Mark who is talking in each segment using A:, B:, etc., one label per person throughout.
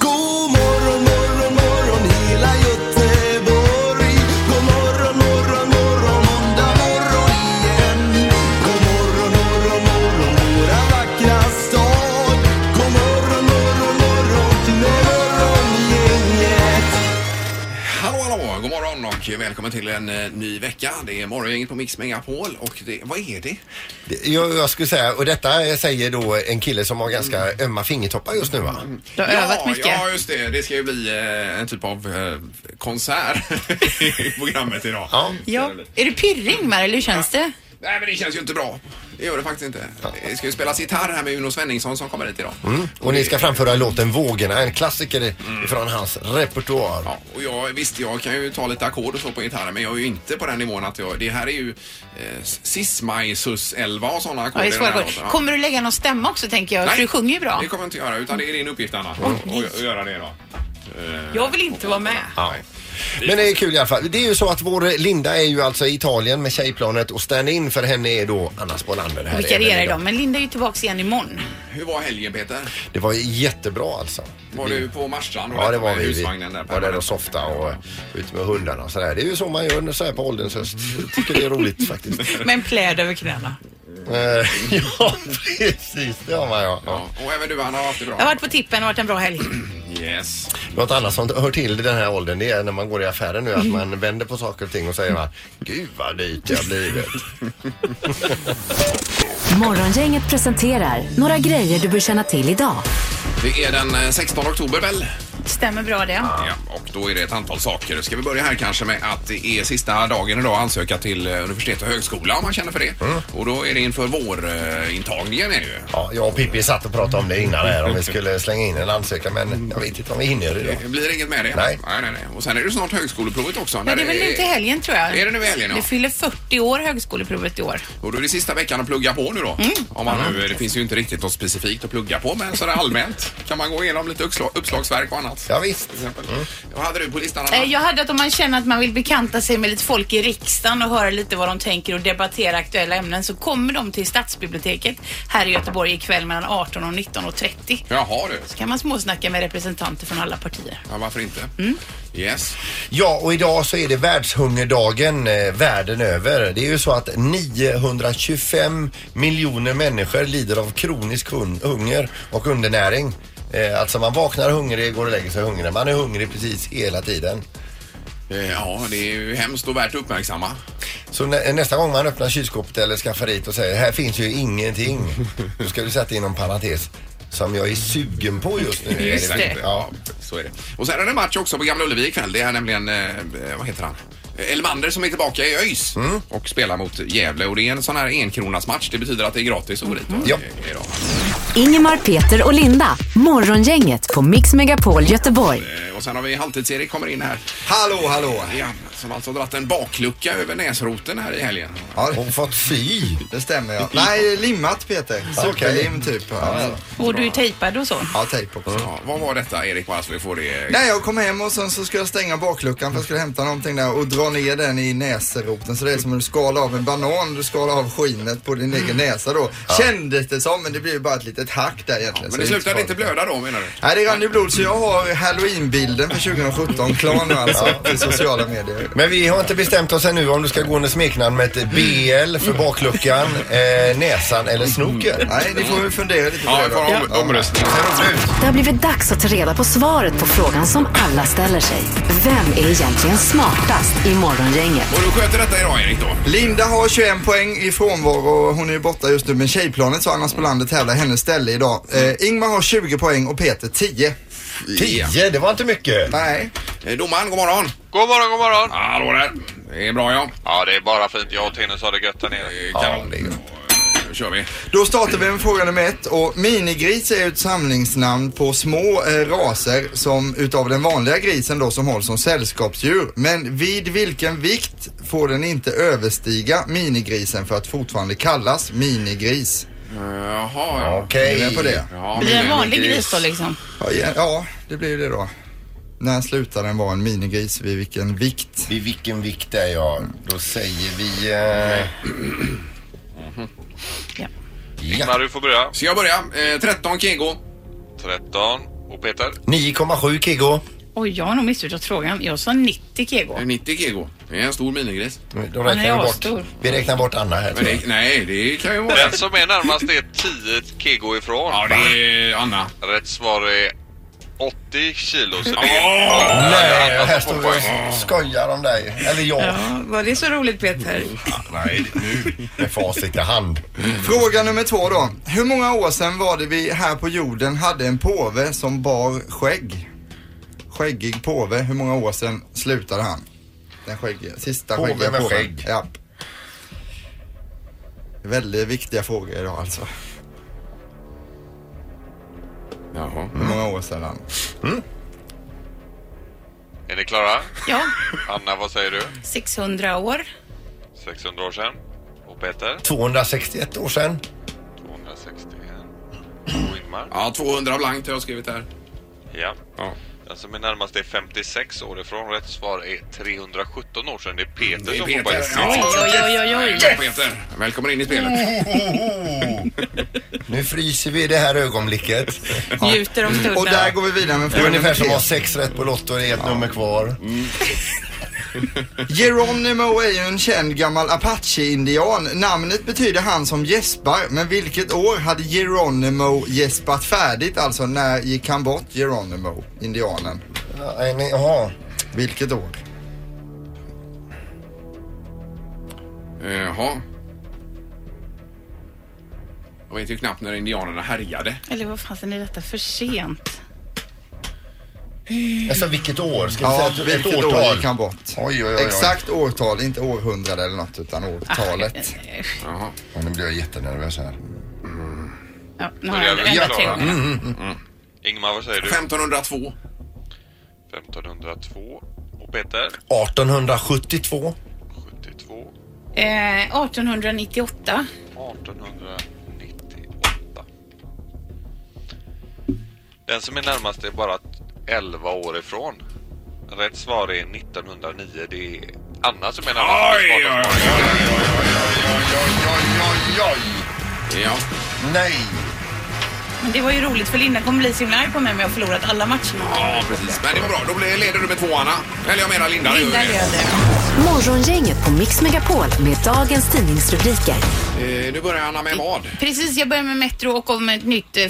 A: God morgon, morgon, morgon hela Göteborg. God morgon, morgon, morgon, måndag morgon igen. God morgon, morgon, morgon, våra vackra stad. God morgon, morgon, morgon till morgongänget.
B: Hallå, hallå! God morgon och välkommen till en eh, ny vecka. Det är morgongänget på Mix Megapol och det, vad är det?
C: Jag, jag skulle säga, och detta säger då en kille som har ganska ömma fingertoppar just nu va?
D: Du har övat mycket.
B: Mm. Ja, just det. Det ska ju bli eh, en typ av eh, konsert i programmet idag.
C: Ja.
D: Ja. Är det pirrig Ingmar eller hur känns det?
B: Nej, men det känns ju inte bra. Det gör det faktiskt inte. Det ska ju spelas gitarr här med Uno Svenningsson som kommer hit idag.
C: Mm. Och ni ska framföra låten Vågorna, en klassiker från hans repertoar.
B: Mm. Ja, och jag, visst, jag kan ju ta lite ackord och så på gitarren, men jag är ju inte på den nivån att jag... Det här är ju eh, sis-maj, sus-elva och sådana
D: Ja,
B: ackord.
D: det
B: i
D: är
B: den
D: svåra
B: här
D: ackord.
B: låten. Ja.
D: Kommer du lägga någon stämma också tänker jag? För du sjunger ju bra.
B: det kommer jag inte göra utan det är din uppgift Anna att att göra det då. Eh.
D: Jag vill inte vara med.
B: Nej.
C: Men det är kul i alla fall. Det är ju så att vår Linda är ju alltså i Italien med tjejplanet och stand-in för henne är då Anna Spolander här. även
D: Vikarierar idag. Men Linda är ju tillbaks igen imorgon.
B: Hur var helgen Peter?
C: Det var jättebra alltså.
B: Var du på Marstrand? och
C: Ja det
B: detta
C: var
B: med
C: vi. Vi
B: Husvagnen där
C: var där och softa och ut med hundarna och sådär. Det är ju så man gör så här på ålderns höst. Jag tycker det är roligt faktiskt.
D: Med en pläd över knäna.
C: Eh, ja precis, det har man ja.
B: Ja, och även du Anna har haft det bra?
D: Jag har varit på tippen och varit en bra helg.
B: Yes.
C: Något annat som hör till den här åldern det är när man går i affären nu att man vänder på saker och ting och säger va, Gud vad dyrt det har blivit.
E: Morgongänget presenterar några grejer du bör känna till idag.
B: Det är den eh, 16 oktober väl?
D: Stämmer bra det.
B: Ja, och då är det ett antal saker. Ska vi börja här kanske med att det är sista dagen idag att ansöka till eh, universitet och högskola om man känner för det.
C: Mm.
B: Och då är det inför eh, vårintagningen är det ju.
C: Ja, jag och Pippi satt och pratade om det innan här om vi skulle slänga in en ansökan men jag vet inte om vi hinner idag.
B: Det blir inget med det?
C: Nej.
B: nej, nej, nej. Och sen är det snart högskoleprovet också.
D: Ja, det är väl nu till helgen tror jag.
B: Är det nu i helgen, ja.
D: Du fyller 40 år högskoleprovet i år.
B: Och då är det sista veckan att plugga på nu då.
D: Mm.
B: Om man
C: Mm.
B: nu, det finns ju inte riktigt något specifikt att plugga på men sådär allmänt kan man gå igenom lite uppslag, uppslagsverk och annat.
C: Ja, visst. Mm.
B: Till exempel. Vad hade du på listan Anna?
D: Eh, Jag hade att om man känner att man vill bekanta sig med lite folk i riksdagen och höra lite vad de tänker och debattera aktuella ämnen så kommer de till stadsbiblioteket här i Göteborg ikväll mellan 18 och 19.30.
B: Jaha du.
D: Så kan man småsnacka med representanter från alla partier.
B: Ja, varför inte? Yes.
C: Mm. Ja, och idag så är det världshungerdagen eh, världen över. Det är ju så att 925 miljoner människor lider av kronisk hun- hunger och undernäring. Eh, Alltså man vaknar hungrig, går och lägger sig hungrig. Man är hungrig precis hela tiden.
B: Eh, Ja, det är ju hemskt och värt att uppmärksamma.
C: Så nä nästa gång man öppnar kylskåpet eller skafferiet och säger här finns ju ingenting. Då ska du sätta in en parentes. Som jag är sugen på just nu.
D: Just
B: Exakt.
D: det.
B: Eh, Ja, så är det. Och sen är det match också på Gamla Ullevi ikväll. Det är nämligen, eh, vad heter han? Eh, Elmander som är tillbaka i ÖIS och spelar mot Gävle och det är en sån här enkronasmatch. Det betyder att det är gratis att gå dit. och-
C: Ja.
B: eh, idag.
E: Ingemar, Peter och Linda. Morgongänget på Mix Megapol Göteborg.
B: Eh, Och sen har vi Halvtids-Erik kommer in här.
F: Hallå, hallå!
B: Ja, som alltså har dragit en baklucka över näsroten här i helgen.
F: Ja,
C: Och fått sy.
F: det stämmer ja. Nej, limmat Peter. Superlim typ. Ja, ja.
D: Och du är tejpad och så.
F: ja tejp också.
B: Ja, vad var detta Erik, bara så vi får det...
F: Nej, jag kom hem och sen så skulle jag stänga bakluckan för jag skulle hämta någonting där och dra ner den i näsroten. Så det är som om du skalar av en banan, du skalar av skinnet på din egen näsa då. Kändes det som, men det blev ju bara ett litet hack där egentligen.
B: Men
F: så
B: det
F: är
B: slutade
F: så
B: inte
F: farligt.
B: blöda då menar du?
F: Nej, det rann ju blod så jag har halloweenbilden för 2017 klar nu alltså, i sociala medier.
C: Men vi har inte bestämt oss ännu om du ska gå under smeknamn med ett BL för bakluckan, eh, näsan eller snoken.
F: Nej, ni får väl fundera lite på
B: Ja,
F: det
B: vi
F: då.
B: får om, omröstning.
E: Det har blivit dags att ta reda på svaret på frågan som alla ställer sig. Vem är egentligen smartast i Morgongänget?
B: Och du sköter detta idag Erik då?
F: Linda har 21 poäng i frånvaro och hon är ju borta just nu men tjejplanet så Anna Spolander tävlar hennes ställe idag. Eh, Ingmar har 20 poäng och Peter 10.
C: Tio, det var inte mycket.
F: Nej.
B: Eh, Domaren, god morgon!
G: God morgon, god morgon!
B: Hallå där! Det är bra ja.
G: Ja, det är bara fint. Jag och Tinus har det gött där nere.
B: Eh,
C: Ja,
B: Kanon.
C: det är ju-
B: Nu kör vi.
F: Då startar vi med fråga nummer ett och minigris är ju ett samlingsnamn på små eh, raser som utav den vanliga grisen då som hålls som sällskapsdjur. Men vid vilken vikt får den inte överstiga minigrisen för att fortfarande kallas minigris?
B: Jaha, ja.
C: Okej.
F: Är ni med på det?
B: ja
D: Blir det
B: men
D: en vanlig
B: ligger-
D: gris då liksom?
F: Ja, ja, ja, det blir ju det då. När slutar den vara en minigris? Vid vilken vikt?
C: Vid vilken vikt är jag? Då säger vi... Eh,
F: Mm.
C: Mhm.
D: Ja.
G: Ingmar,
C: ja.
G: du får börja.
B: Ska jag börja? Eh, 13 kg.
G: 13. Och Peter?
C: 9,7 kg.
D: Oj, jag har nog missförstått frågan. Jag sa 90 kg.
B: 90 kg. Det är en stor minigris.
C: Då
D: Han är
C: räknar vi bort.
D: asstor.
C: Vi räknar bort Anna här.
B: Men
C: tror jag.
B: det, nej, det kan ju vara...
G: Den som är närmast är 10 kg ifrån.
B: Ja, det är Anna.
G: Rätt svar är 80 kilo. Så det är...
B: Åh!
C: Nej, här står vi och skojar om dig. Eller jag.
D: Ja, var det så roligt Peter?
C: Nej, nu med facit i hand.
F: Fråga nummer två då. Hur många år sedan var det vi här på jorden hade en påve som bar skägg? Skäggig påve. Hur många år sedan slutade han? Den skäggiga, sista
C: Påve
F: skäggiga
C: med
F: påven.
C: skägg.
F: Ja. Väldigt viktiga frågor idag alltså.
B: Jaha.
F: Hur många år sedan?
G: Är ni klara?
D: Ja,
G: Anna, vad säger du?
D: 600 år.
G: 600 år sedan. Och Peter?
C: 261 år sedan.
G: 261. Och Ingmar?
B: Mm. Ja, 200 blankt har jag skrivit här.
G: Ja.
B: Ja.
G: Den som är närmast är 56 år ifrån. Rätt svar är 317 år sedan. Det är Peter
B: Det är
G: som får
B: Peter.
G: poäng.
B: Ja.
D: Oj, oj, oj, oj.
B: Ja, Peter, välkommen in i spelet.
C: Nu fryser vi i det här ögonblicket.
D: Njuter om
F: Och där
D: stunden.
F: går vi vidare med
C: Det är
F: fråga nummer
C: ungefär som att
F: tre.
C: ha sex rätt på Lotto, det är ett nummer kvar.
F: Geronimo är ju en känd gammal apache-indian. Namnet betyder han som gäspar, men vilket år hade Geronimo gäspat färdigt? Alltså när gick han bort, Geronimo, indianen?
C: Nej, nej, Jaha.
F: Vilket år?
B: Jaha. Jag vet ju knappt när indianerna härjade.
D: Eller vad fasen är detta för sent?
C: Alltså vilket år? Ska vi
F: Ja,
C: säga ett, ett
F: vilket år gick
C: årtal?
F: han bort?
C: Oj, oj, oj. oj.
F: Exakt årtal, inte århundrade eller något, utan årtalet.
B: Jaha.
C: Ja, nu blir jag jättenervös här.
D: Ja, nu har
G: Börjar
D: jag
G: vi
D: ändrat tre
G: klara? Mm,
D: gånger.
G: Ingmar, vad säger du?
B: 1502.
G: 1502. Och Peter?
C: 1872.
G: 72.
D: Eh, 1898.
G: 1898. Den som är närmast är bara 11 år ifrån. Rätt svar är 1909. Det är Anna som är närmast.
B: Oj, oj, oj.
C: Oj, oj.
B: Ja.
C: Nej.
D: Men det var ju roligt för Linda kommer bli så himla arg på mig om jag har förlorat alla matcherna.
B: ja, precis. Men det var bra. Då blir- leder du med två, Anna. Eller jag menar Linda. det gör
D: Linda
B: vi.
D: leder.
E: Morgongänget på Mix Megapol med dagens tidningsrubriker.
B: Eh, Nu börjar Anna med vad?
D: Precis, jag börjar med Metro och om ett nytt eh,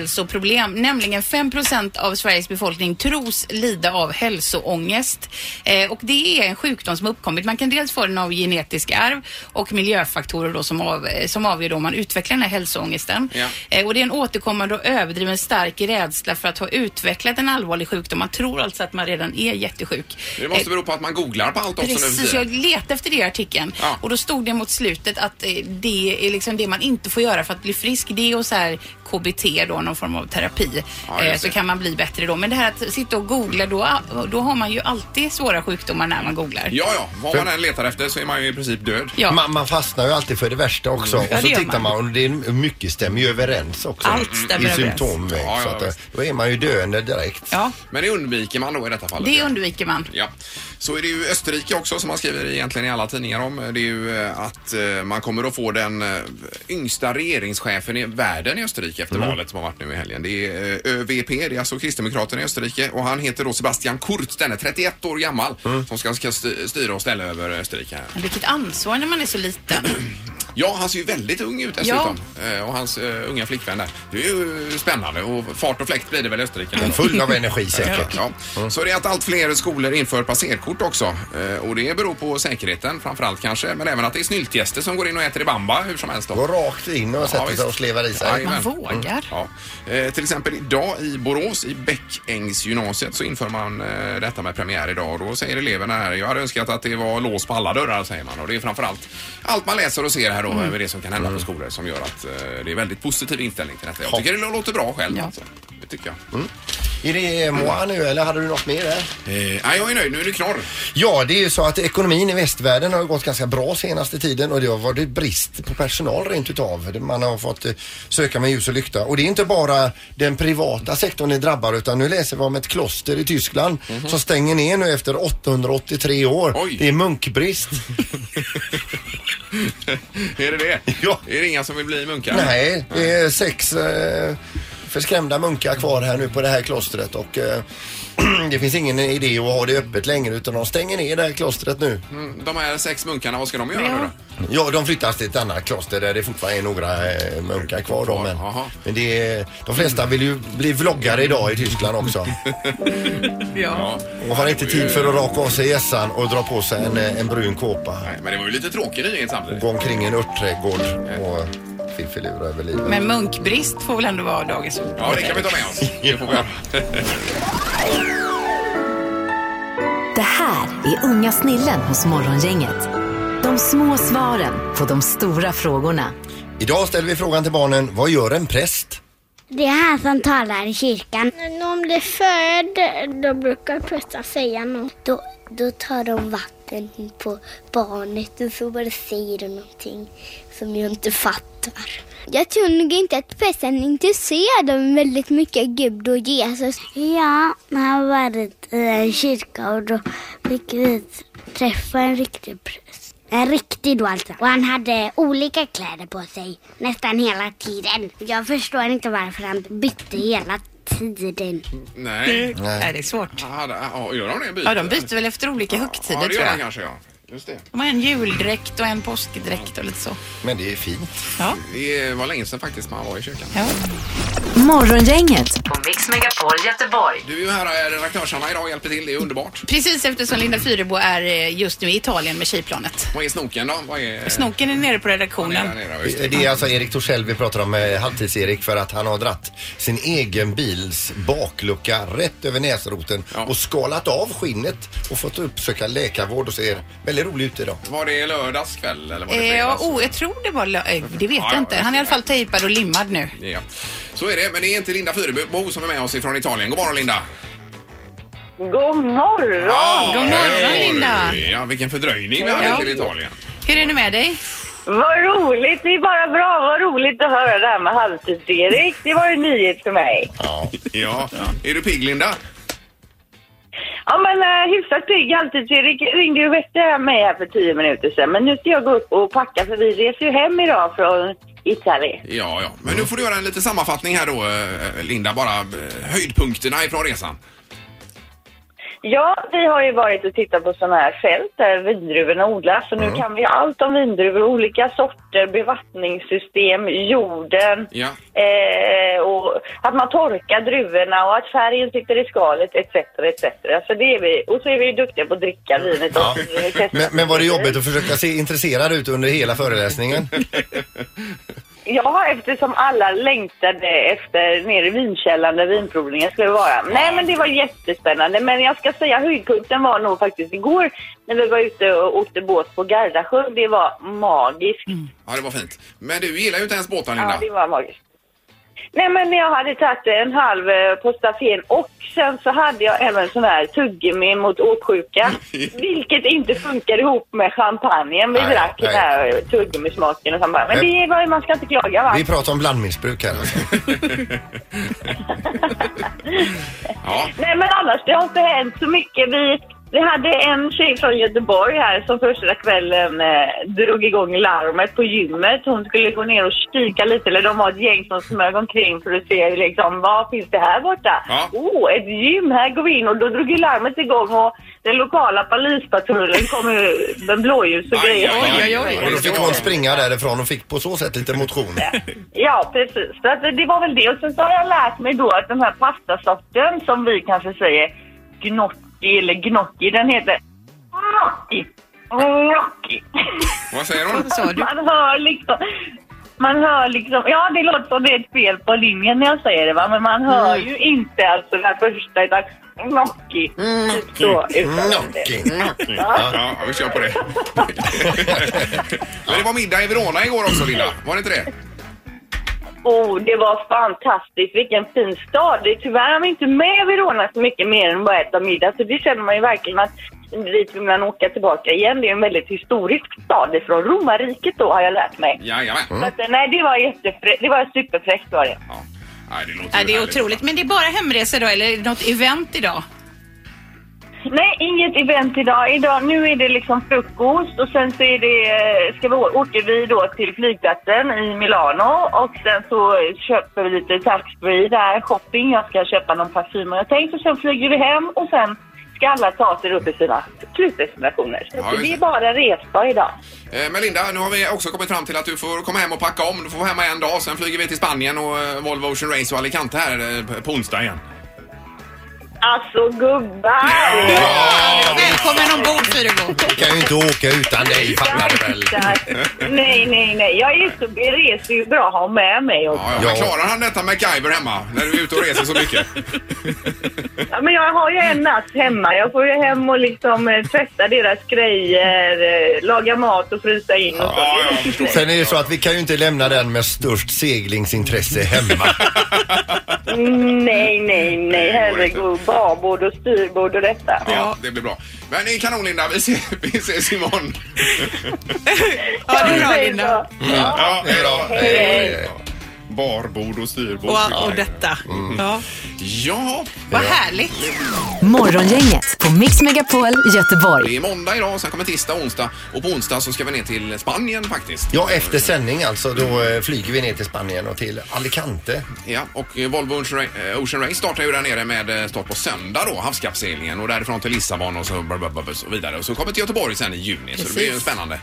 D: folkhälsoproblem, nämligen 5 av Sveriges befolkning tros lida av hälsoångest. Eh, och det är en sjukdom som uppkommit. Man kan dels få den av genetisk arv och miljöfaktorer då som, av, eh, som avgör då om man utvecklar den här hälsoångesten.
B: Ja.
D: Eh, och det är en återkommande och överdriven stark rädsla för att ha utvecklat en allvarlig sjukdom. Man tror alltså att man redan är jättesjuk.
B: Det
D: Eh,
B: måste bero på att man googlar på allt också nu
D: Precis,
B: för
D: jag
B: tiden.
D: letade efter det i artikeln
B: Ja.
D: och då stod det mot slutet att eh, det är liksom det man inte får göra för att bli frisk. Det är och så här KBT då, någon form av terapi.
B: Ja,
D: eh,
B: just
D: så
B: det.
D: kan man bli bättre då. Men det här att sitta och googla, då, ah, då har man ju alltid svåra sjukdomar när man googlar.
B: Ja, ja. Vad man än letar efter så är man ju i princip död.
D: Ja.
C: Man, man fastnar ju alltid för det värsta också.
D: Mm. Ja,
C: och så
D: det gör
C: tittar
D: man.
C: man och det är, mycket stämmer ju överens också.
D: Allt stämmer
C: I
D: överens.
C: symptomväg.
B: Mm. Ja, ja,
C: så att,
B: visst.
C: eh, då är man ju döende direkt.
D: Ja,
B: Men det undviker man då i detta fallet.
D: det
B: ja.
D: undviker man.
B: Ja, så är det ju Österrike också som man skriver egentligen i alla tidningar om. Det är ju eh, att eh, man kommer att få den eh, yngsta regeringschefen i världen i Österrike
C: Mm.
B: efter valet som har varit nu i helgen. Det är eh, ÖVP, det är alltså Kristdemokraterna i Österrike och han heter då Sebastian Kurz, den är 31 år gammal,
C: Mm.
B: som ska, ska sty- styra och ställa över Österrike. här.
D: Men Vilket ansvar när man är så liten.
B: Ja, han ser ju väldigt ung ut dessutom. Eh, Och hans eh, unga flickvän där. Det är ju eh, spännande och fart och fläkt blir det väl i Österrike. nu då.
C: Mm, Full av energi säkert. Mm.
B: Ja. Så det är att allt fler skolor inför passerkort också. Eh, Och det beror på säkerheten framförallt kanske, men även att det är snyltgäster som går in och äter i bamba hur som helst. Då.
C: Går eh, rakt in och sätter
B: visst.
C: sig och slevar i sig. Mm.
B: Jajamän.
D: Man vågar.
B: Ja. Eh, till exempel idag i Borås i Bäckängsgymnasiet så inför man eh, detta med premiär idag och då säger eleverna här, jag hade önskat att det var lås på alla dörrar säger man och det är framförallt allt man läser och ser här
D: Mm.
B: då med det som kan hända
C: Mm.
B: på skolor som gör att eh, det är väldigt positiv inställning till detta. Jag tycker det låter bra själv
D: Ja.
B: alltså. Det tycker jag. Mm.
C: Är det Moa nu eller hade du något mer där?
B: Eh, nej, jag är nöjd. Nu är det knorr.
C: Ja, det är ju så att ekonomin i västvärlden har ju gått ganska bra senaste tiden och det har varit brist på personal rent utav. Man har fått eh, söka med ljus och lykta och det är inte bara den privata sektorn det drabbar utan nu läser vi om ett kloster i Tyskland som stänger ner nu efter 883 år.
B: Oj.
C: Det är munkbrist.
B: är det det?
C: Ja.
B: Är det inga som vill bli munkar?
C: Nej, det är sex eh, förskrämda munkar kvar här nu på det här klostret och eh, det finns ingen idé att ha det öppet längre utan de stänger ner det här klostret nu.
B: Mm, De här sex munkarna, vad ska de göra
D: Ja.
B: nu då?
C: Ja, de flyttas till ett annat kloster där det fortfarande är några eh, munkar kvar. Då, men
B: Jaha.
C: men det är, de flesta vill ju bli vloggare idag i Tyskland också.
B: Ja.
C: Och har inte tid för att raka av sig hjässan och dra på sig en, eh, en brun kåpa.
B: Nej, men det var ju lite tråkig nyhet samtidigt.
C: Gå omkring i en örtträdgård och fiffilura över livet.
D: Men munkbrist får väl ändå vara dagens ord.
B: Ja, det kan vi ta med oss. Det får vi göra.
E: Det här är Unga snillen hos Morgongänget. De små svaren på de stora frågorna.
C: Idag ställer vi frågan till barnen, vad gör en präst?
H: Det är han som talar i kyrkan. När de blir född, då brukar prästen säga något. Då, då tar de vatten på barnet och så bara säger de någonting som jag inte fattar. Jag tror nog inte att prästen är intresserad av väldigt mycket Gud och Jesus. Ja, när jag har varit i en kyrka och då fick vi träffa en riktig präst. En riktig då alltså. Och han hade olika kläder på sig nästan hela tiden. Jag förstår inte varför han bytte hela tiden.
B: Nej.
D: Nej, det är svårt.
B: Ah, da- ah, gör de det? Byter?
D: Ja, de byter väl efter olika högtider
B: Ja, det
D: tror
B: gör de
D: jag.
B: kanske, ja. Just det.
D: De har en juldräkt och en påskdräkt och lite så.
C: Men det är fint.
D: Ja.
B: Det var länge sedan faktiskt man var i kyrkan.
D: ja.
E: Morgongänget på Mix Megapol Göteborg.
B: Du är ju här, eh, redaktörs-Hanna, idag och hjälper till. Det är underbart.
D: Precis eftersom Linda Fyrebo är eh, just nu i Italien med tjejplanet.
B: Vad är snoken då? Vad är...
D: Snoken är nere på
B: Där
D: redaktionen.
B: nere, ja, just det.
C: Det är alltså Erik Torssell vi pratar om, eh, halvtids-Erik, för att han har dratt sin egen bils baklucka rätt över näsroten
B: Ja.
C: och skalat av skinnet och fått uppsöka läkarvård och ser väldigt rolig ut idag.
B: Var det lördags kväll eller var det
D: Eh, Ja,
B: fredags?
D: oh, jag tror det var lö- eh, Det vet
B: Ja,
D: jag
B: ja,
D: inte. Han är i alla fall tejpad och limmad nu.
B: Ja. Så är det, men det är inte Linda Fyrebo som är med oss ifrån Italien. God morgon Linda!
I: God morgon!
B: Ja,
D: God morgon,
B: hej.
D: Linda.
B: Ja, vilken fördröjning vi hade
D: Ja.
B: till Italien.
D: Hur är det med dig?
I: Vad roligt! Det är bara bra. Vad roligt att höra det här med halvtids-Erik. Det var ju en nyhet för mig.
B: Ja. Är du pigg Linda?
I: Ja, men eh, hyfsat pigg. Halvtids-Erik ringde ju och väckte mig här för tio minuter sedan. Men nu ska jag gå upp och packa för vi reser ju hem idag från Italien.
B: Ja, ja. Men nu får du göra en liten sammanfattning här då, eh, Linda. Bara eh, höjdpunkterna ifrån resan.
I: Ja, vi har ju varit och tittat på sådana här fält där vindruvorna odlas. Så nu kan vi allt om vindruvor, olika sorter, bevattningssystem, jorden.
B: Ja.
I: Eh, och att man torkar druvorna och att färgen sitter i skalet etc. etc. Så det är vi. Och så är vi ju duktiga på att dricka vinet
C: Ja.
I: också. Vi testar.
C: Men, men var det jobbigt att försöka se intresserad ut under hela föreläsningen?
I: Ja, eftersom alla längtade efter nere i vinkällaren där vinprovningen skulle vara. Nej, men det var jättespännande. Men jag ska säga höjdpunkten var nog faktiskt igår när vi var ute och åkte båt på Gardasjön. Det var magiskt.
B: Ja, det var fint. Men du gillar ju inte ens båtar,
I: Mm. Ja,
B: Linda.
I: det var magiskt. Nej, men jag hade tagit en halv eh, postafen och sen så hade jag även sån här tuggummi mot åksjuka, vilket inte funkar ihop med champagnen. Vi
C: Nej,
I: drack
C: nej.
I: den här eh, tuggummismaken och champagne. Men
B: Eh,
I: det var ju, man ska inte klaga va?
C: Vi pratar om blandmissbruk här alltså.
B: Ja.
I: Nej, men annars det har inte hänt så mycket. Vi, vi hade en tjej från Göteborg här som första kvällen eh, drog igång larmet på gymmet. Hon skulle gå ner och kika lite, eller de var ett gäng som smög omkring för att se liksom, vad finns det här borta?
B: Ja.
I: Åh, oh, ett gym, här går vi in. Och då drog ju larmet igång och den lokala polispatrullen kom ju med blåljus och
B: Aj,
I: grejer.
B: aj, aj, aj.
C: Och då fick hon springa därifrån och fick på så sätt lite motion.
I: Ja, precis. Så att det var väl det. Och sen så har jag lärt mig då att den här pastasorten som vi kanske säger gnocchi eller gnocchi, den heter gnocchi. Gnocchi.
B: Vad säger hon?
D: Sa du?
I: Man hör liksom... Man hör liksom... Ja, det låter som det är ett fel på linjen när jag säger det, va? men man hör
D: Mm.
I: ju inte alltså den här första, utan gnocchi.
D: Mm.
I: Typ Så, utan Mm.
C: Knocking.
B: Mm. Ja, vi kör på det. Men
I: Mm.
B: det var middag i Verona igår också, Linda. Var det inte det?
I: Oh, det var fantastiskt. Vilken fin stad. Det är Tyvärr har vi inte med Verona så mycket mer än bara äta middag. Så det känner man ju verkligen att dit vill man åka tillbaka igen. Det är en väldigt historisk stad. Det är från romarriket då, har jag lärt mig.
B: Jajamän.
I: Så att, eh, nej, det var jättefräckt. Det var superfräckt var det.
B: Nej, det låter
D: Ja, det
B: ju
D: är
B: härligt.
D: otroligt. Men det är bara hemresor då eller är det något event idag?
I: Nej, inget event idag. idag. Nu är det liksom frukost och sen så är det, eh, ska vi, å- åker vi då till flygplatsen i Milano och sen så köper vi lite taxfree där, shopping. Jag ska köpa någon parfym har jag tänkt och sen flyger vi hem och sen ska alla ta sig upp i sina slutdestinationer. Så
B: Ja, just
I: det är
B: det.
I: bara resdag idag.
B: Eh, Men Linda, nu har vi också kommit fram till att du får komma hem och packa om. Du får vara hemma en dag, sen flyger vi till Spanien och eh, Volvo Ocean Race och Alicante här eh, på- på onsdag igen.
I: Alltså gubbar!
D: Välkommen ombord Fyrebo!
C: Vi kan ju inte åka utan dig, fattar du väl?
I: Nej, nej, nej. Jag är så, det reser ju bra att ha med mig också.
B: Ja, men klarar han detta med MacGyver hemma när du är ute och reser så mycket?
I: Ja, men jag har ju en natt hemma. Jag får ju hem och liksom eh, tvätta deras grejer, eh, laga mat och frysa in och så.
C: Sen är det så att vi kan ju inte lämna den med störst seglingsintresse hemma.
I: Mm, Nej, nej, nej. Herregud. Babord och styrbord och detta.
B: Ja, det blir bra. Men det är kanon Linda, vi ses, vi ses imorgon. Mm.
D: Ja, det är bra Linda.
B: Ja, hej då.
I: Hej, hej.
B: Barbord och styrbord. Mm.
D: Och, och detta. Ja.
B: Ja.
D: Vad härligt.
E: Morgongänget på Mix Megapol
B: Det är
E: Göteborg.
B: måndag idag, sen kommer tisdag och onsdag. Och på onsdag så ska vi ner till Spanien faktiskt.
C: Ja, efter sändning alltså, då eh, flyger vi ner till Spanien och till Alicante.
B: Ja, och eh, Volvo Ocean Ra- eh, Ocean Race startar ju där nere med eh, start på söndag då, havskappseglingen och därifrån till Lissabon och så, och så vidare. Och så kommer till Göteborg sen i juni, så det blir ju
D: Precis. Mm.
B: spännande.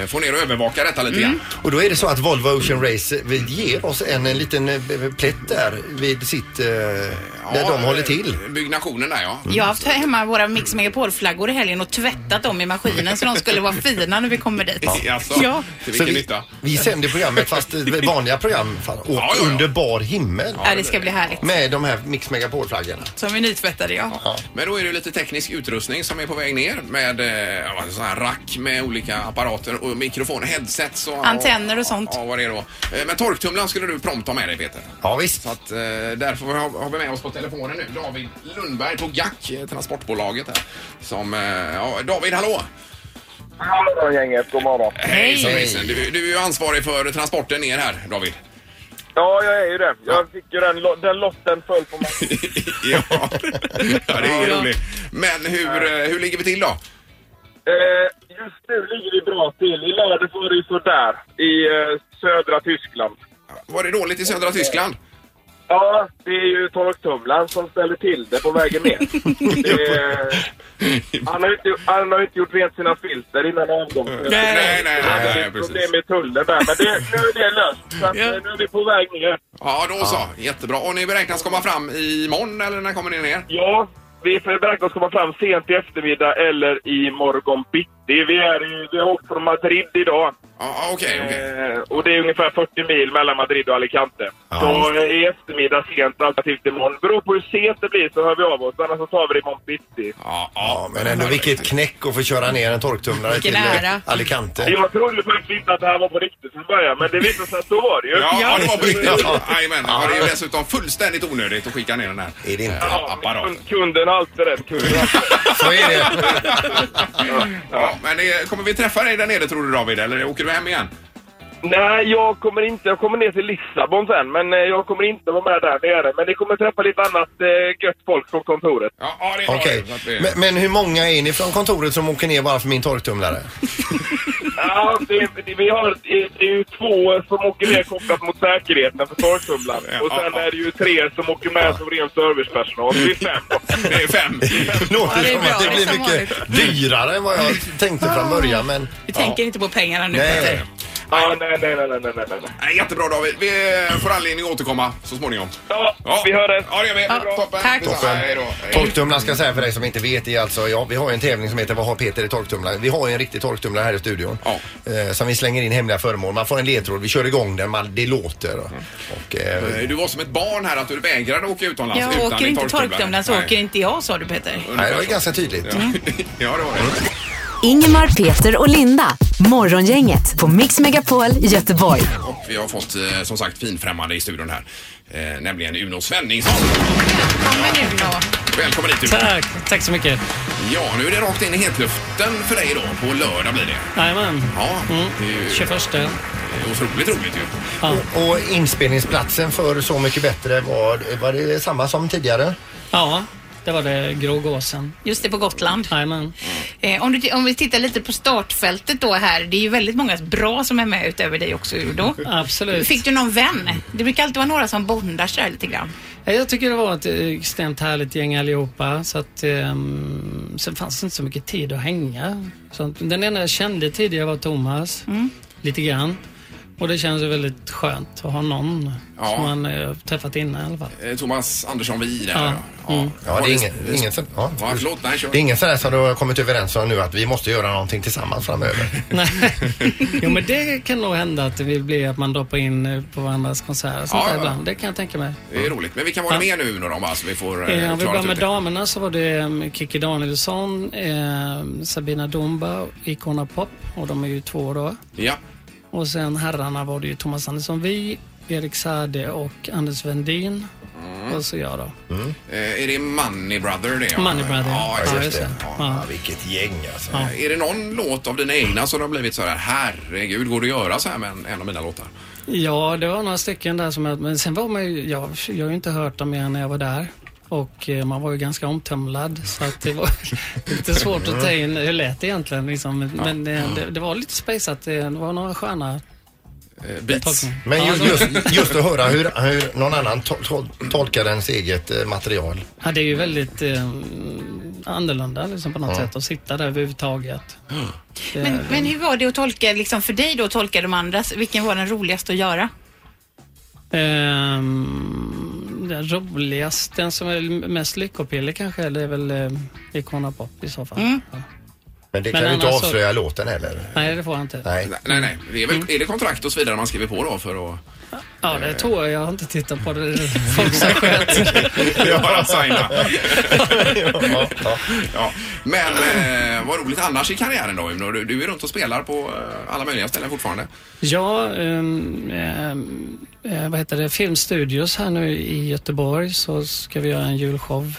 B: Eh, Få ner och övervaka detta lite grann.
C: Och då är det så att Volvo Ocean Race eh, vi ger oss en, en liten eh, b- plätt där vid sitt, eh, där de
B: eh,
C: håller till.
B: Byggnationen där ja.
D: Jag har haft hemma våra Mix Megapol-flaggor i helgen och tvättat dem i maskinen så de skulle vara fina när vi kommer dit.
B: Jaså,
D: Ja.
B: till
C: Så
B: vilken
C: vi,
B: nytta?
C: vi sänder programmet, fast eh, vanliga program, fan, och
B: Ja, ja, ja.
C: under bar himmel.
D: Ja, det ska bli härligt.
C: Med de här Mix Megapol-flaggorna.
D: Som är nytvättade ja.
B: Men då är det ju lite teknisk utrustning som är på väg ner med eh, ja, sån här rack med olika apparater och mikrofon, headsets och
D: Antenner och sånt.
B: Ja, vad det är då. Eh, Men torktumlaren skulle du prompt ha med dig Peter.
C: Ja, visst.
B: Så att, eh, därför har, har vi med oss på telefonen nu David Lundberg på GAC, eh, transportbolaget här. Som, eh, ja, David, hallå!
J: Hallå gänget, god morgon.
B: Hejsan, hejsan. Du, du är ju ansvarig för transporten ner här, David.
J: Ja, jag är ju det. Jag fick ju den, lo- den lotten föll på mig.
B: ja. ja, det är
J: Ja.
B: roligt. Men hur, eh, hur ligger vi till då?
J: Eh, just nu ligger vi bra till. I lördags var det ju sådär i eh, södra Tyskland.
B: Var det dåligt i södra Tyskland?
J: Ja, det är ju torktumlaren som ställer till det på vägen ner. det, är- han, har ju inte, han har ju inte gjort rent sina filter innan avgången.
B: Nej, nej, nej,
J: Han hade
B: nej,
J: ett
B: precis.
J: problem med tullen där, men det, nu är det löst. Så att, eh, nu är vi på väg ner.
B: Ja, då så. Jättebra. Och ni beräknas komma fram imorgon eller när kommer ni ner?
J: Ja, vi beräknas komma fram sent i eftermiddag eller i morgon bitti. Vi, är, i- vi har åkt från Madrid idag.
B: Ja, ah, okej,
J: Eh, och det är ungefär 40 mil mellan Madrid och Alicante. Så eh, i eftermiddag sent, alternativt imorgon. Beror på hur sent det blir så hör vi av oss, annars så tar vi det imorgon bitti.
B: Ja,
C: Ja, men ändå vilket knäck att få köra ner en torktumlare till
J: Vilken
C: eh,
J: ära.
C: Alicante.
J: Jag trodde faktiskt inte att det här var på riktigt från början, men det visade sig att så var det ju.
B: Ja, ja, det var på riktigt.
J: Ja.
B: Jajamän. Ja, det är ju dessutom fullständigt onödigt att skicka ner den här är det inte? apparaten.
J: Kunden har alltid rätt. Kunden har alltid
C: Så är det.
B: Ja, men det, kommer vi träffa dig där nere tror du David, eller åker du hem igen?
J: Nej, jag kommer inte. Jag kommer ner till Lissabon sen, men eh, jag kommer inte vara med där nere. Men ni kommer träffa lite annat eh, gött folk från kontoret.
B: Ja, ja det
C: Okej, men, men hur många är ni från kontoret som åker ner bara för min torktumlare?
J: Ja, det, det, vi har, det är ju två som åker ner kopplat mot säkerheten för torktumlaren. Och sen är det ju tre som åker med som ren servicepersonal. Det är fem.
B: Det är fem.
C: Låter
J: Ja, det är
C: som
J: bra.
C: att det
J: Det är
C: blir
J: som
C: mycket dyrare än vad jag tänkte från början. Men
D: Ah. Vi tänker inte på pengarna nu Peter.
J: Ja, nej, nej, nej, nej, nej, nej.
B: Nej, jättebra David. Vi eh, får anledning att återkomma så småningom.
J: Ja,
B: vi
J: hör det.
B: Ja, det gör vi.
J: Ja,
B: Toppen.
J: tack.
B: Detsamma.
C: Toppen.
B: Hej då. Hej.
C: Torktumlaren ska jag säga för dig som inte vet är alltså, ja, vi har ju en tävling som heter Vad har Peter i torktumlaren? Vi har ju en riktig torktumlare här i studion. Eh, som vi slänger in hemliga föremål. Man får en ledtråd, vi kör igång den, man, det låter. Och, eh,
B: Eh, Du var som ett barn här att du vägrade åka utomlands
D: Jag
B: utan
D: åker
B: din
D: inte torktumlaren så
B: Nej.
D: åker inte jag sa du Peter.
C: nej, det var ju ganska tydligt.
B: Ja, det var det.
E: Ingemar, Peter och Linda. Morgongänget på Mix Megapol Göteborg.
B: Och vi har fått eh, som sagt finfrämmande i studion här. Eh, nämligen Uno Svenningsson. Välkommen hit Uno.
K: Tack, tack så mycket.
B: Ja, nu är det rakt in i hetluften för dig då. På lördag blir det.
K: Jajamän.
B: Ja,
K: Mm.
B: det är ju
K: 21.
B: eh, otroligt roligt ju.
C: Och, och inspelningsplatsen för Så mycket bättre var, var det samma som tidigare?
K: Ja, det var det Grå Gåsen.
D: Just det, på Gotland.
K: Jajamän.
D: Eh, om, du, om vi tittar lite på startfältet då här. Det är ju väldigt många bra som är med utöver dig också Udo.
K: Absolut.
D: Fick du någon vän? Det brukar alltid vara några som bondar sig lite grann.
K: Ja, Jag tycker det var ett eh, extremt härligt gäng allihopa. Så att, ehm, sen fanns det inte så mycket tid att hänga. Så att, den enda jag kände tidigare var Thomas.
L: Mm.
K: Lite grann. Och det känns ju väldigt skönt att ha någon
B: Ja.
K: som man eh, träffat innan i alla fall.
B: Eh, Thomas Andersson vi där.
K: Ja.
B: Ja.
K: Mm.
C: Ja, det är ingen, ingen, sån- ja.
B: Ja, förlåt. Nej, kör.
C: det är ingen sån här som du har kommit överens om nu att vi måste göra någonting tillsammans framöver.
K: Jo men det kan nog hända att det blir att man droppar in eh, på varandras konserter och sånt
B: Ja,
K: där
B: ja.
K: ibland. Det kan jag tänka mig.
B: Det är roligt. Men vilka var det med nu Uno då? Bara, så vi får
K: Eh,
B: eh,
K: Om vi
B: klara
K: börjar
B: ut
K: med
B: det.
K: damerna så var det eh, Kikki Danielsson, eh, Sabina Dumba, Icona Pop och de är ju två då.
B: Ja.
K: Och sen herrarna var det ju Thomas Andersson Vi, Erik Sade och Anders Wendin.
B: Mm.
K: Och så jag då.
B: Eh, är det Money Brother det?
K: Money Brother,
B: Ja,
K: ja.
B: just
K: Ja,
B: det.
K: just det.
B: Ja.
K: Ja.
C: Vilket gäng alltså.
K: Ja.
B: Är det någon låt av dina egna som har blivit så här, herregud, går det att göra så här med en, en av mina låtar?
K: Ja, det var några stycken där som jag, men sen var man ju, jag, jag har ju inte hört dem igen när jag var där. Och eh, man var ju ganska omtumlad så att det var lite svårt att ta in hur lät det egentligen liksom. Men eh, det, det var lite spejsat, eh, det var några sköna
B: Eh, beats.
C: Men ju, just, just att höra hur, hur någon annan tol, tol, tolkar ens eget eh, material.
K: Ja, det är ju väldigt eh, annorlunda liksom, på något
C: Ja.
K: sätt att sitta där överhuvudtaget. Det-
D: Men, men hur var det att tolka liksom för dig då, tolka de andras? Vilken var den roligaste att göra?
K: Ehm, den roligaste, den som är mest lyckopiller kanske, det är väl eh, Icona Pop i så fall.
D: Mm.
K: Ja.
C: Men det
K: Men
C: kan ju inte
K: annars så-
C: avslöja låten heller.
K: Nej, det får jag inte.
C: Nej.
B: Nej, nej. Det är, väl,
K: Mm.
B: är det kontrakt och så vidare man skriver på då för att...
K: Ja, det tror jag. Jag har inte tittat på det. Det är Folk som sköter.
B: Det är bara att signa.
C: ja, ja.
B: Ja. Men eh, vad roligt annars i karriären då Uno. Du, du är runt och spelar på eh, alla möjliga ställen fortfarande.
K: Ja, ehm, ehm, eh, vad heter det, Filmstudios här nu i Göteborg så ska vi göra en julshow.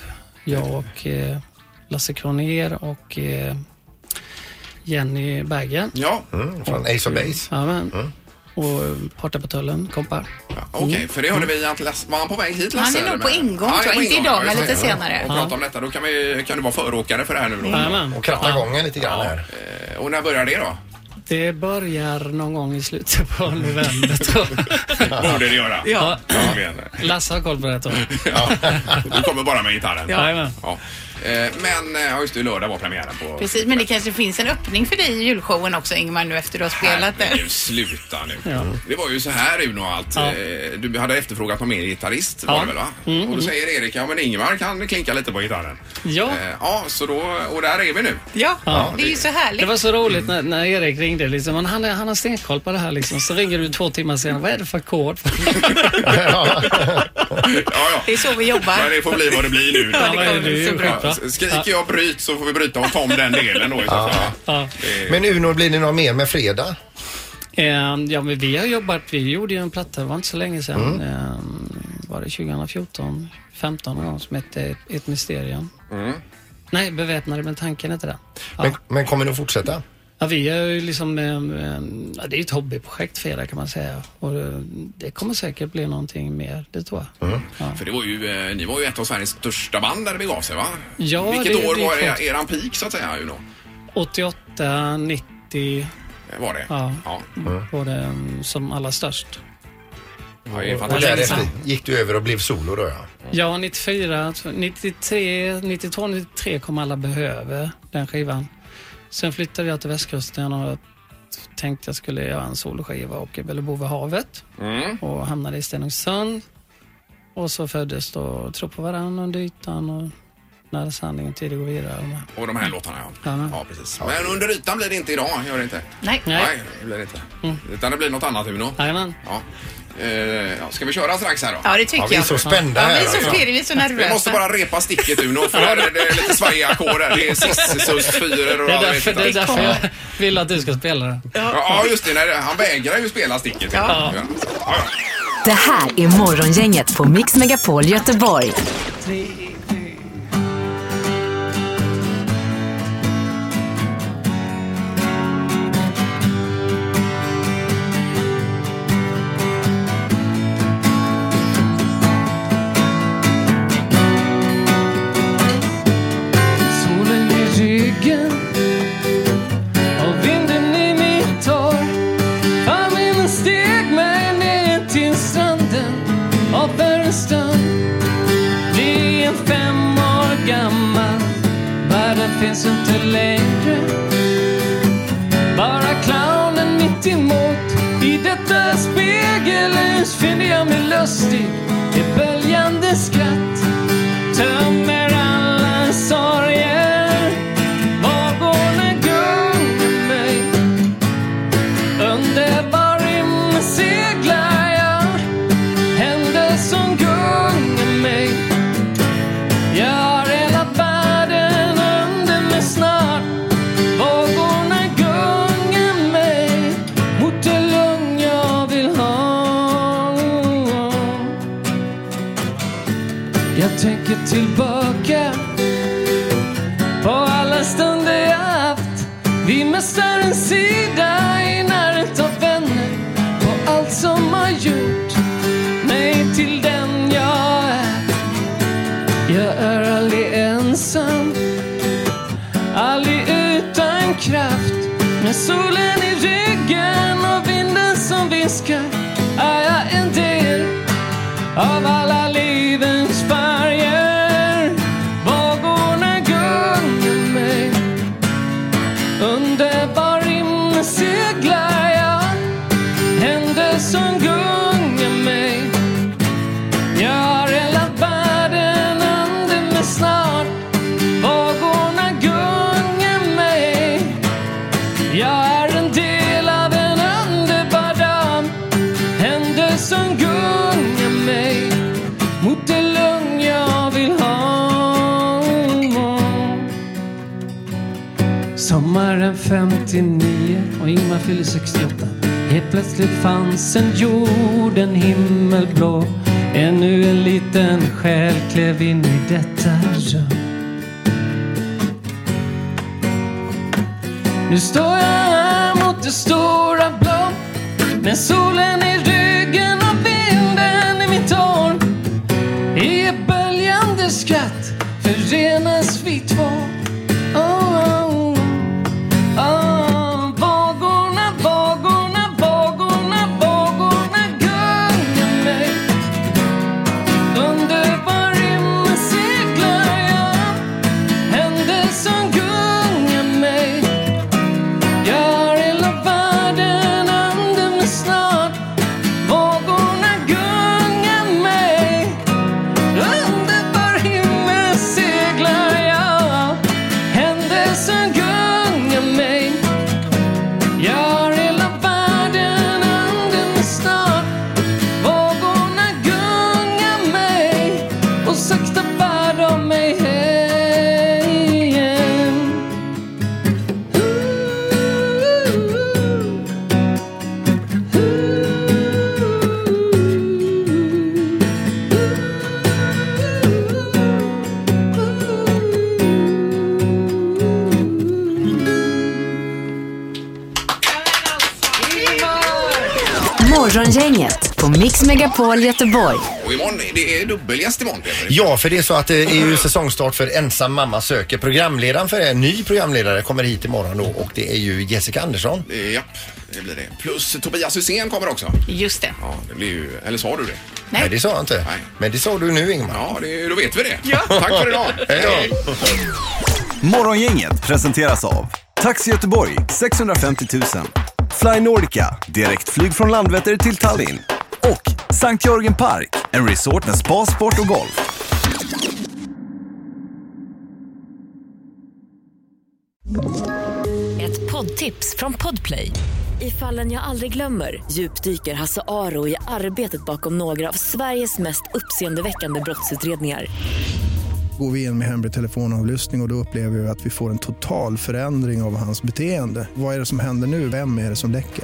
K: Jag och eh, Lasse Kronér och eh, Jenny Berggren.
B: Ja,
C: Mm, från Ace of Base.
K: Ja, men. Och eh, Parta på tullen, kompar.
B: Okej,
K: Mm.
B: för det hörde vi att Lasse, var han på väg hit Lasse?
D: Han är nog
B: eller?
D: på ingång,
B: Ja,
D: tror jag.
B: på
D: Inte
B: ingång,
D: idag,
B: ja, just
D: men
B: det.
D: lite senare.
B: Och prata om detta, då kan, vi, kan du vara föråkare för det här nu då.
K: Jajamän.
C: Och kratta gången lite grann här.
B: Eh, Och när börjar det då?
K: Det börjar någon gång i slutet på november tror jag.
B: Borde det göra.
K: Ja.
B: Kom igen.
K: Lasse har koll på det här, tror jag.
B: Ja. Du kommer bara med gitarren.
K: Jajamän.
B: Ja. Eh, Men eh, ja, just det, lördag var premiären på...
D: Precis, men det kanske finns en öppning för dig i julshowen också Ingmar nu efter du har spelat där.
B: Herregud, sluta nu.
K: Ja.
B: Det var ju så här Uno att
K: Ja.
B: eh, du hade efterfrågat någon mer gitarrist var
K: Ja.
B: det väl va?
K: Mm,
B: och då
K: mm.
B: säger Erik, ja men Ingmar kan klinka lite på gitarren.
K: Ja.
B: Eh, ja, så då, och där är vi nu.
D: Ja,
K: Ja.
D: det är ju så
K: Det
D: härligt.
K: var så roligt när, när Erik ringde. Liksom, men han, är- han har stenkoll på det här. Liksom. Så ringer du två timmar senare. Vad är det för ackord?
B: Ja,
D: Det
B: ja.
D: är så vi jobbar.
B: Men det får bli vad det blir nu.
K: Ja, det kommer bli så bra.
B: Ja, skriker jag bryt så får vi bryta och ta om den delen då i så fall.
K: Ja.
B: Eh,
C: Men Uno, blir det något mer med fredag?
K: Ehm, ja, men vi har jobbat. Vi gjorde ju en platta, det var inte så länge sedan.
C: Mm.
K: Ehm, var det 2014, 15 någon gång, som hette Ett mysterium.
B: mm.
K: Nej, Beväpnade med tanken hette den. Ja.
C: Men, men kommer det att fortsätta?
K: Ja, vi är ju liksom, ehm, ehm, ja, det är ju ett hobbyprojekt för er kan man säga. Och eh, det kommer säkert bli någonting mer, det tror jag.
C: Mm.
K: Ja.
B: För det var ju, eh, ni var ju ett av Sveriges största band där det begav sig va?
K: Ja,
B: Vilket
K: det-
B: år
K: det är
B: var
K: klart.
B: er, eran peak så att säga Uno?
K: 88, 90,
B: Eh, Var det?
K: Ja.
B: ja.
K: var det mm, som allra störst.
B: Ja, det är
C: Och
B: fantastiskt.
C: därefter gick du över och blev solo då ja.
K: Ja, alltså 94, 93, 92, 93 kom alla behöver den skivan. Sen flyttade jag till västkusten och jag tänkte jag skulle göra en soloskiva och ville bo vid havet
B: Mm.
K: och hamnade i Stenungsund. Och så föddes då Tro på varann under ytan och när sanningen tidig går vidare. med.
B: Och de här låtarna ja.
K: Ja,
B: ja precis. Men under ytan blir det inte idag, gör det inte?
D: Nej.
B: Nej, det blir det inte. Utan det blir något annat Uno.
K: Mm. Jajamän.
B: Ja. Eh, ja, ska vi köra strax här då?
D: Ja, det tycker Ja, vi är jag. så spända Ja, här, vi är så alltså. pirriga, vi är så nervösa.
B: Vi måste bara repa sticket Uno, för här är det lite svajiga ackord här. Det är sis, sus, fyror och
K: Det är
B: alla vet
K: därför,
B: inte.
K: det är därför jag vill att du ska spela den.
B: Ja, just det. Nej, han vägrar ju spela sticket.
K: Ja.
E: Det här är Morgongänget på Mix Megapol Göteborg.
L: Solen i ryggen och vinden i mitt hår. Familjen steg mig ner till stranden och för en stund. Vi är fem år gammal, världen finns inte längre. Bara clownen mitt emot. I detta spegelhus finner jag mig lustig i böljande skratt. Tömmer alla sorger. Var går när gungar mig? Underbar rymd seglar jag. Händer som gungar mig. Jag har hela världen under mig snart. Vågorna gungar mig mot det lugn jag vill ha. Jag tänker tillbaka på alla stunder jag haft. Vi möstar en sida i närhet av vänner och allt som har gjort mig till den jag är. Jag är aldrig ensam, aldrig utan kraft. Med solen i ryggen och vinden som viskar är jag en del av alla livens färger. Vågorna gungar mig. Underbar himmel seglar jag. Händer som gungar mig. Jag har hela världen under mig snart. Vågorna gungar mig. Jag är en del av en underbar dam. Händer som gungar mig mot det lugn jag vill ha. Sommaren 59 och Ingmar fyller 68. Helt plötsligt fanns en jord, en himmelblå. Ännu en liten själ klev in i detta rum. Nu står jag här mot det stora blå med solen i ryggen och vinden i mitt hår. I ett böljande skratt förenas vi två. Oh, oh, oh. Vågorna, vågorna, vågorna, vågorna gungar mig. Underbar himmel seglar jag. Händer som gungar mig. Jag har hela världen under mig snart. Vågorna gungar mig. Underbar himmel seglar jag. Händer som gungar mig. Jag har hela världen under mig snart. Vågorna gungar mig. Och sakta bär de mig hem.
E: Morgongänget på Mix Megapol Göteborg.
B: Och imorgon, det är dubbelgäst imorgon Peter.
C: Ja, för det är så att det är ju säsongstart för Ensam mamma söker. Programledaren för en ny programledare kommer hit imorgon då och det är ju Jessica Andersson.
B: Ja, det blir det. Plus Tobias Hysén kommer också.
D: Just det.
B: Ja, det blir ju... Eller sa du det?
C: Nej, det sa jag inte. Men det sa du nu Ingmar.
B: Ja, det, då vet vi det. Tack för idag.
C: Hej då.
M: Morgongänget presenteras av Taxi Göteborg 650 000 Fly Nordica, direktflyg från Landvetter till Tallinn och Sankt Jörgen Park, en resort med spa, sport och golf.
N: Ett tips från Podplay. I fallen jag aldrig glömmer djupdyker Hasse Aro i arbetet bakom några av Sveriges mest uppseendeväckande brottsutredningar.
O: Går vi in med hemlig telefonavlyssning och, och då upplever vi att vi får en total förändring av hans beteende. Vad är det som händer nu? Vem är det som läcker?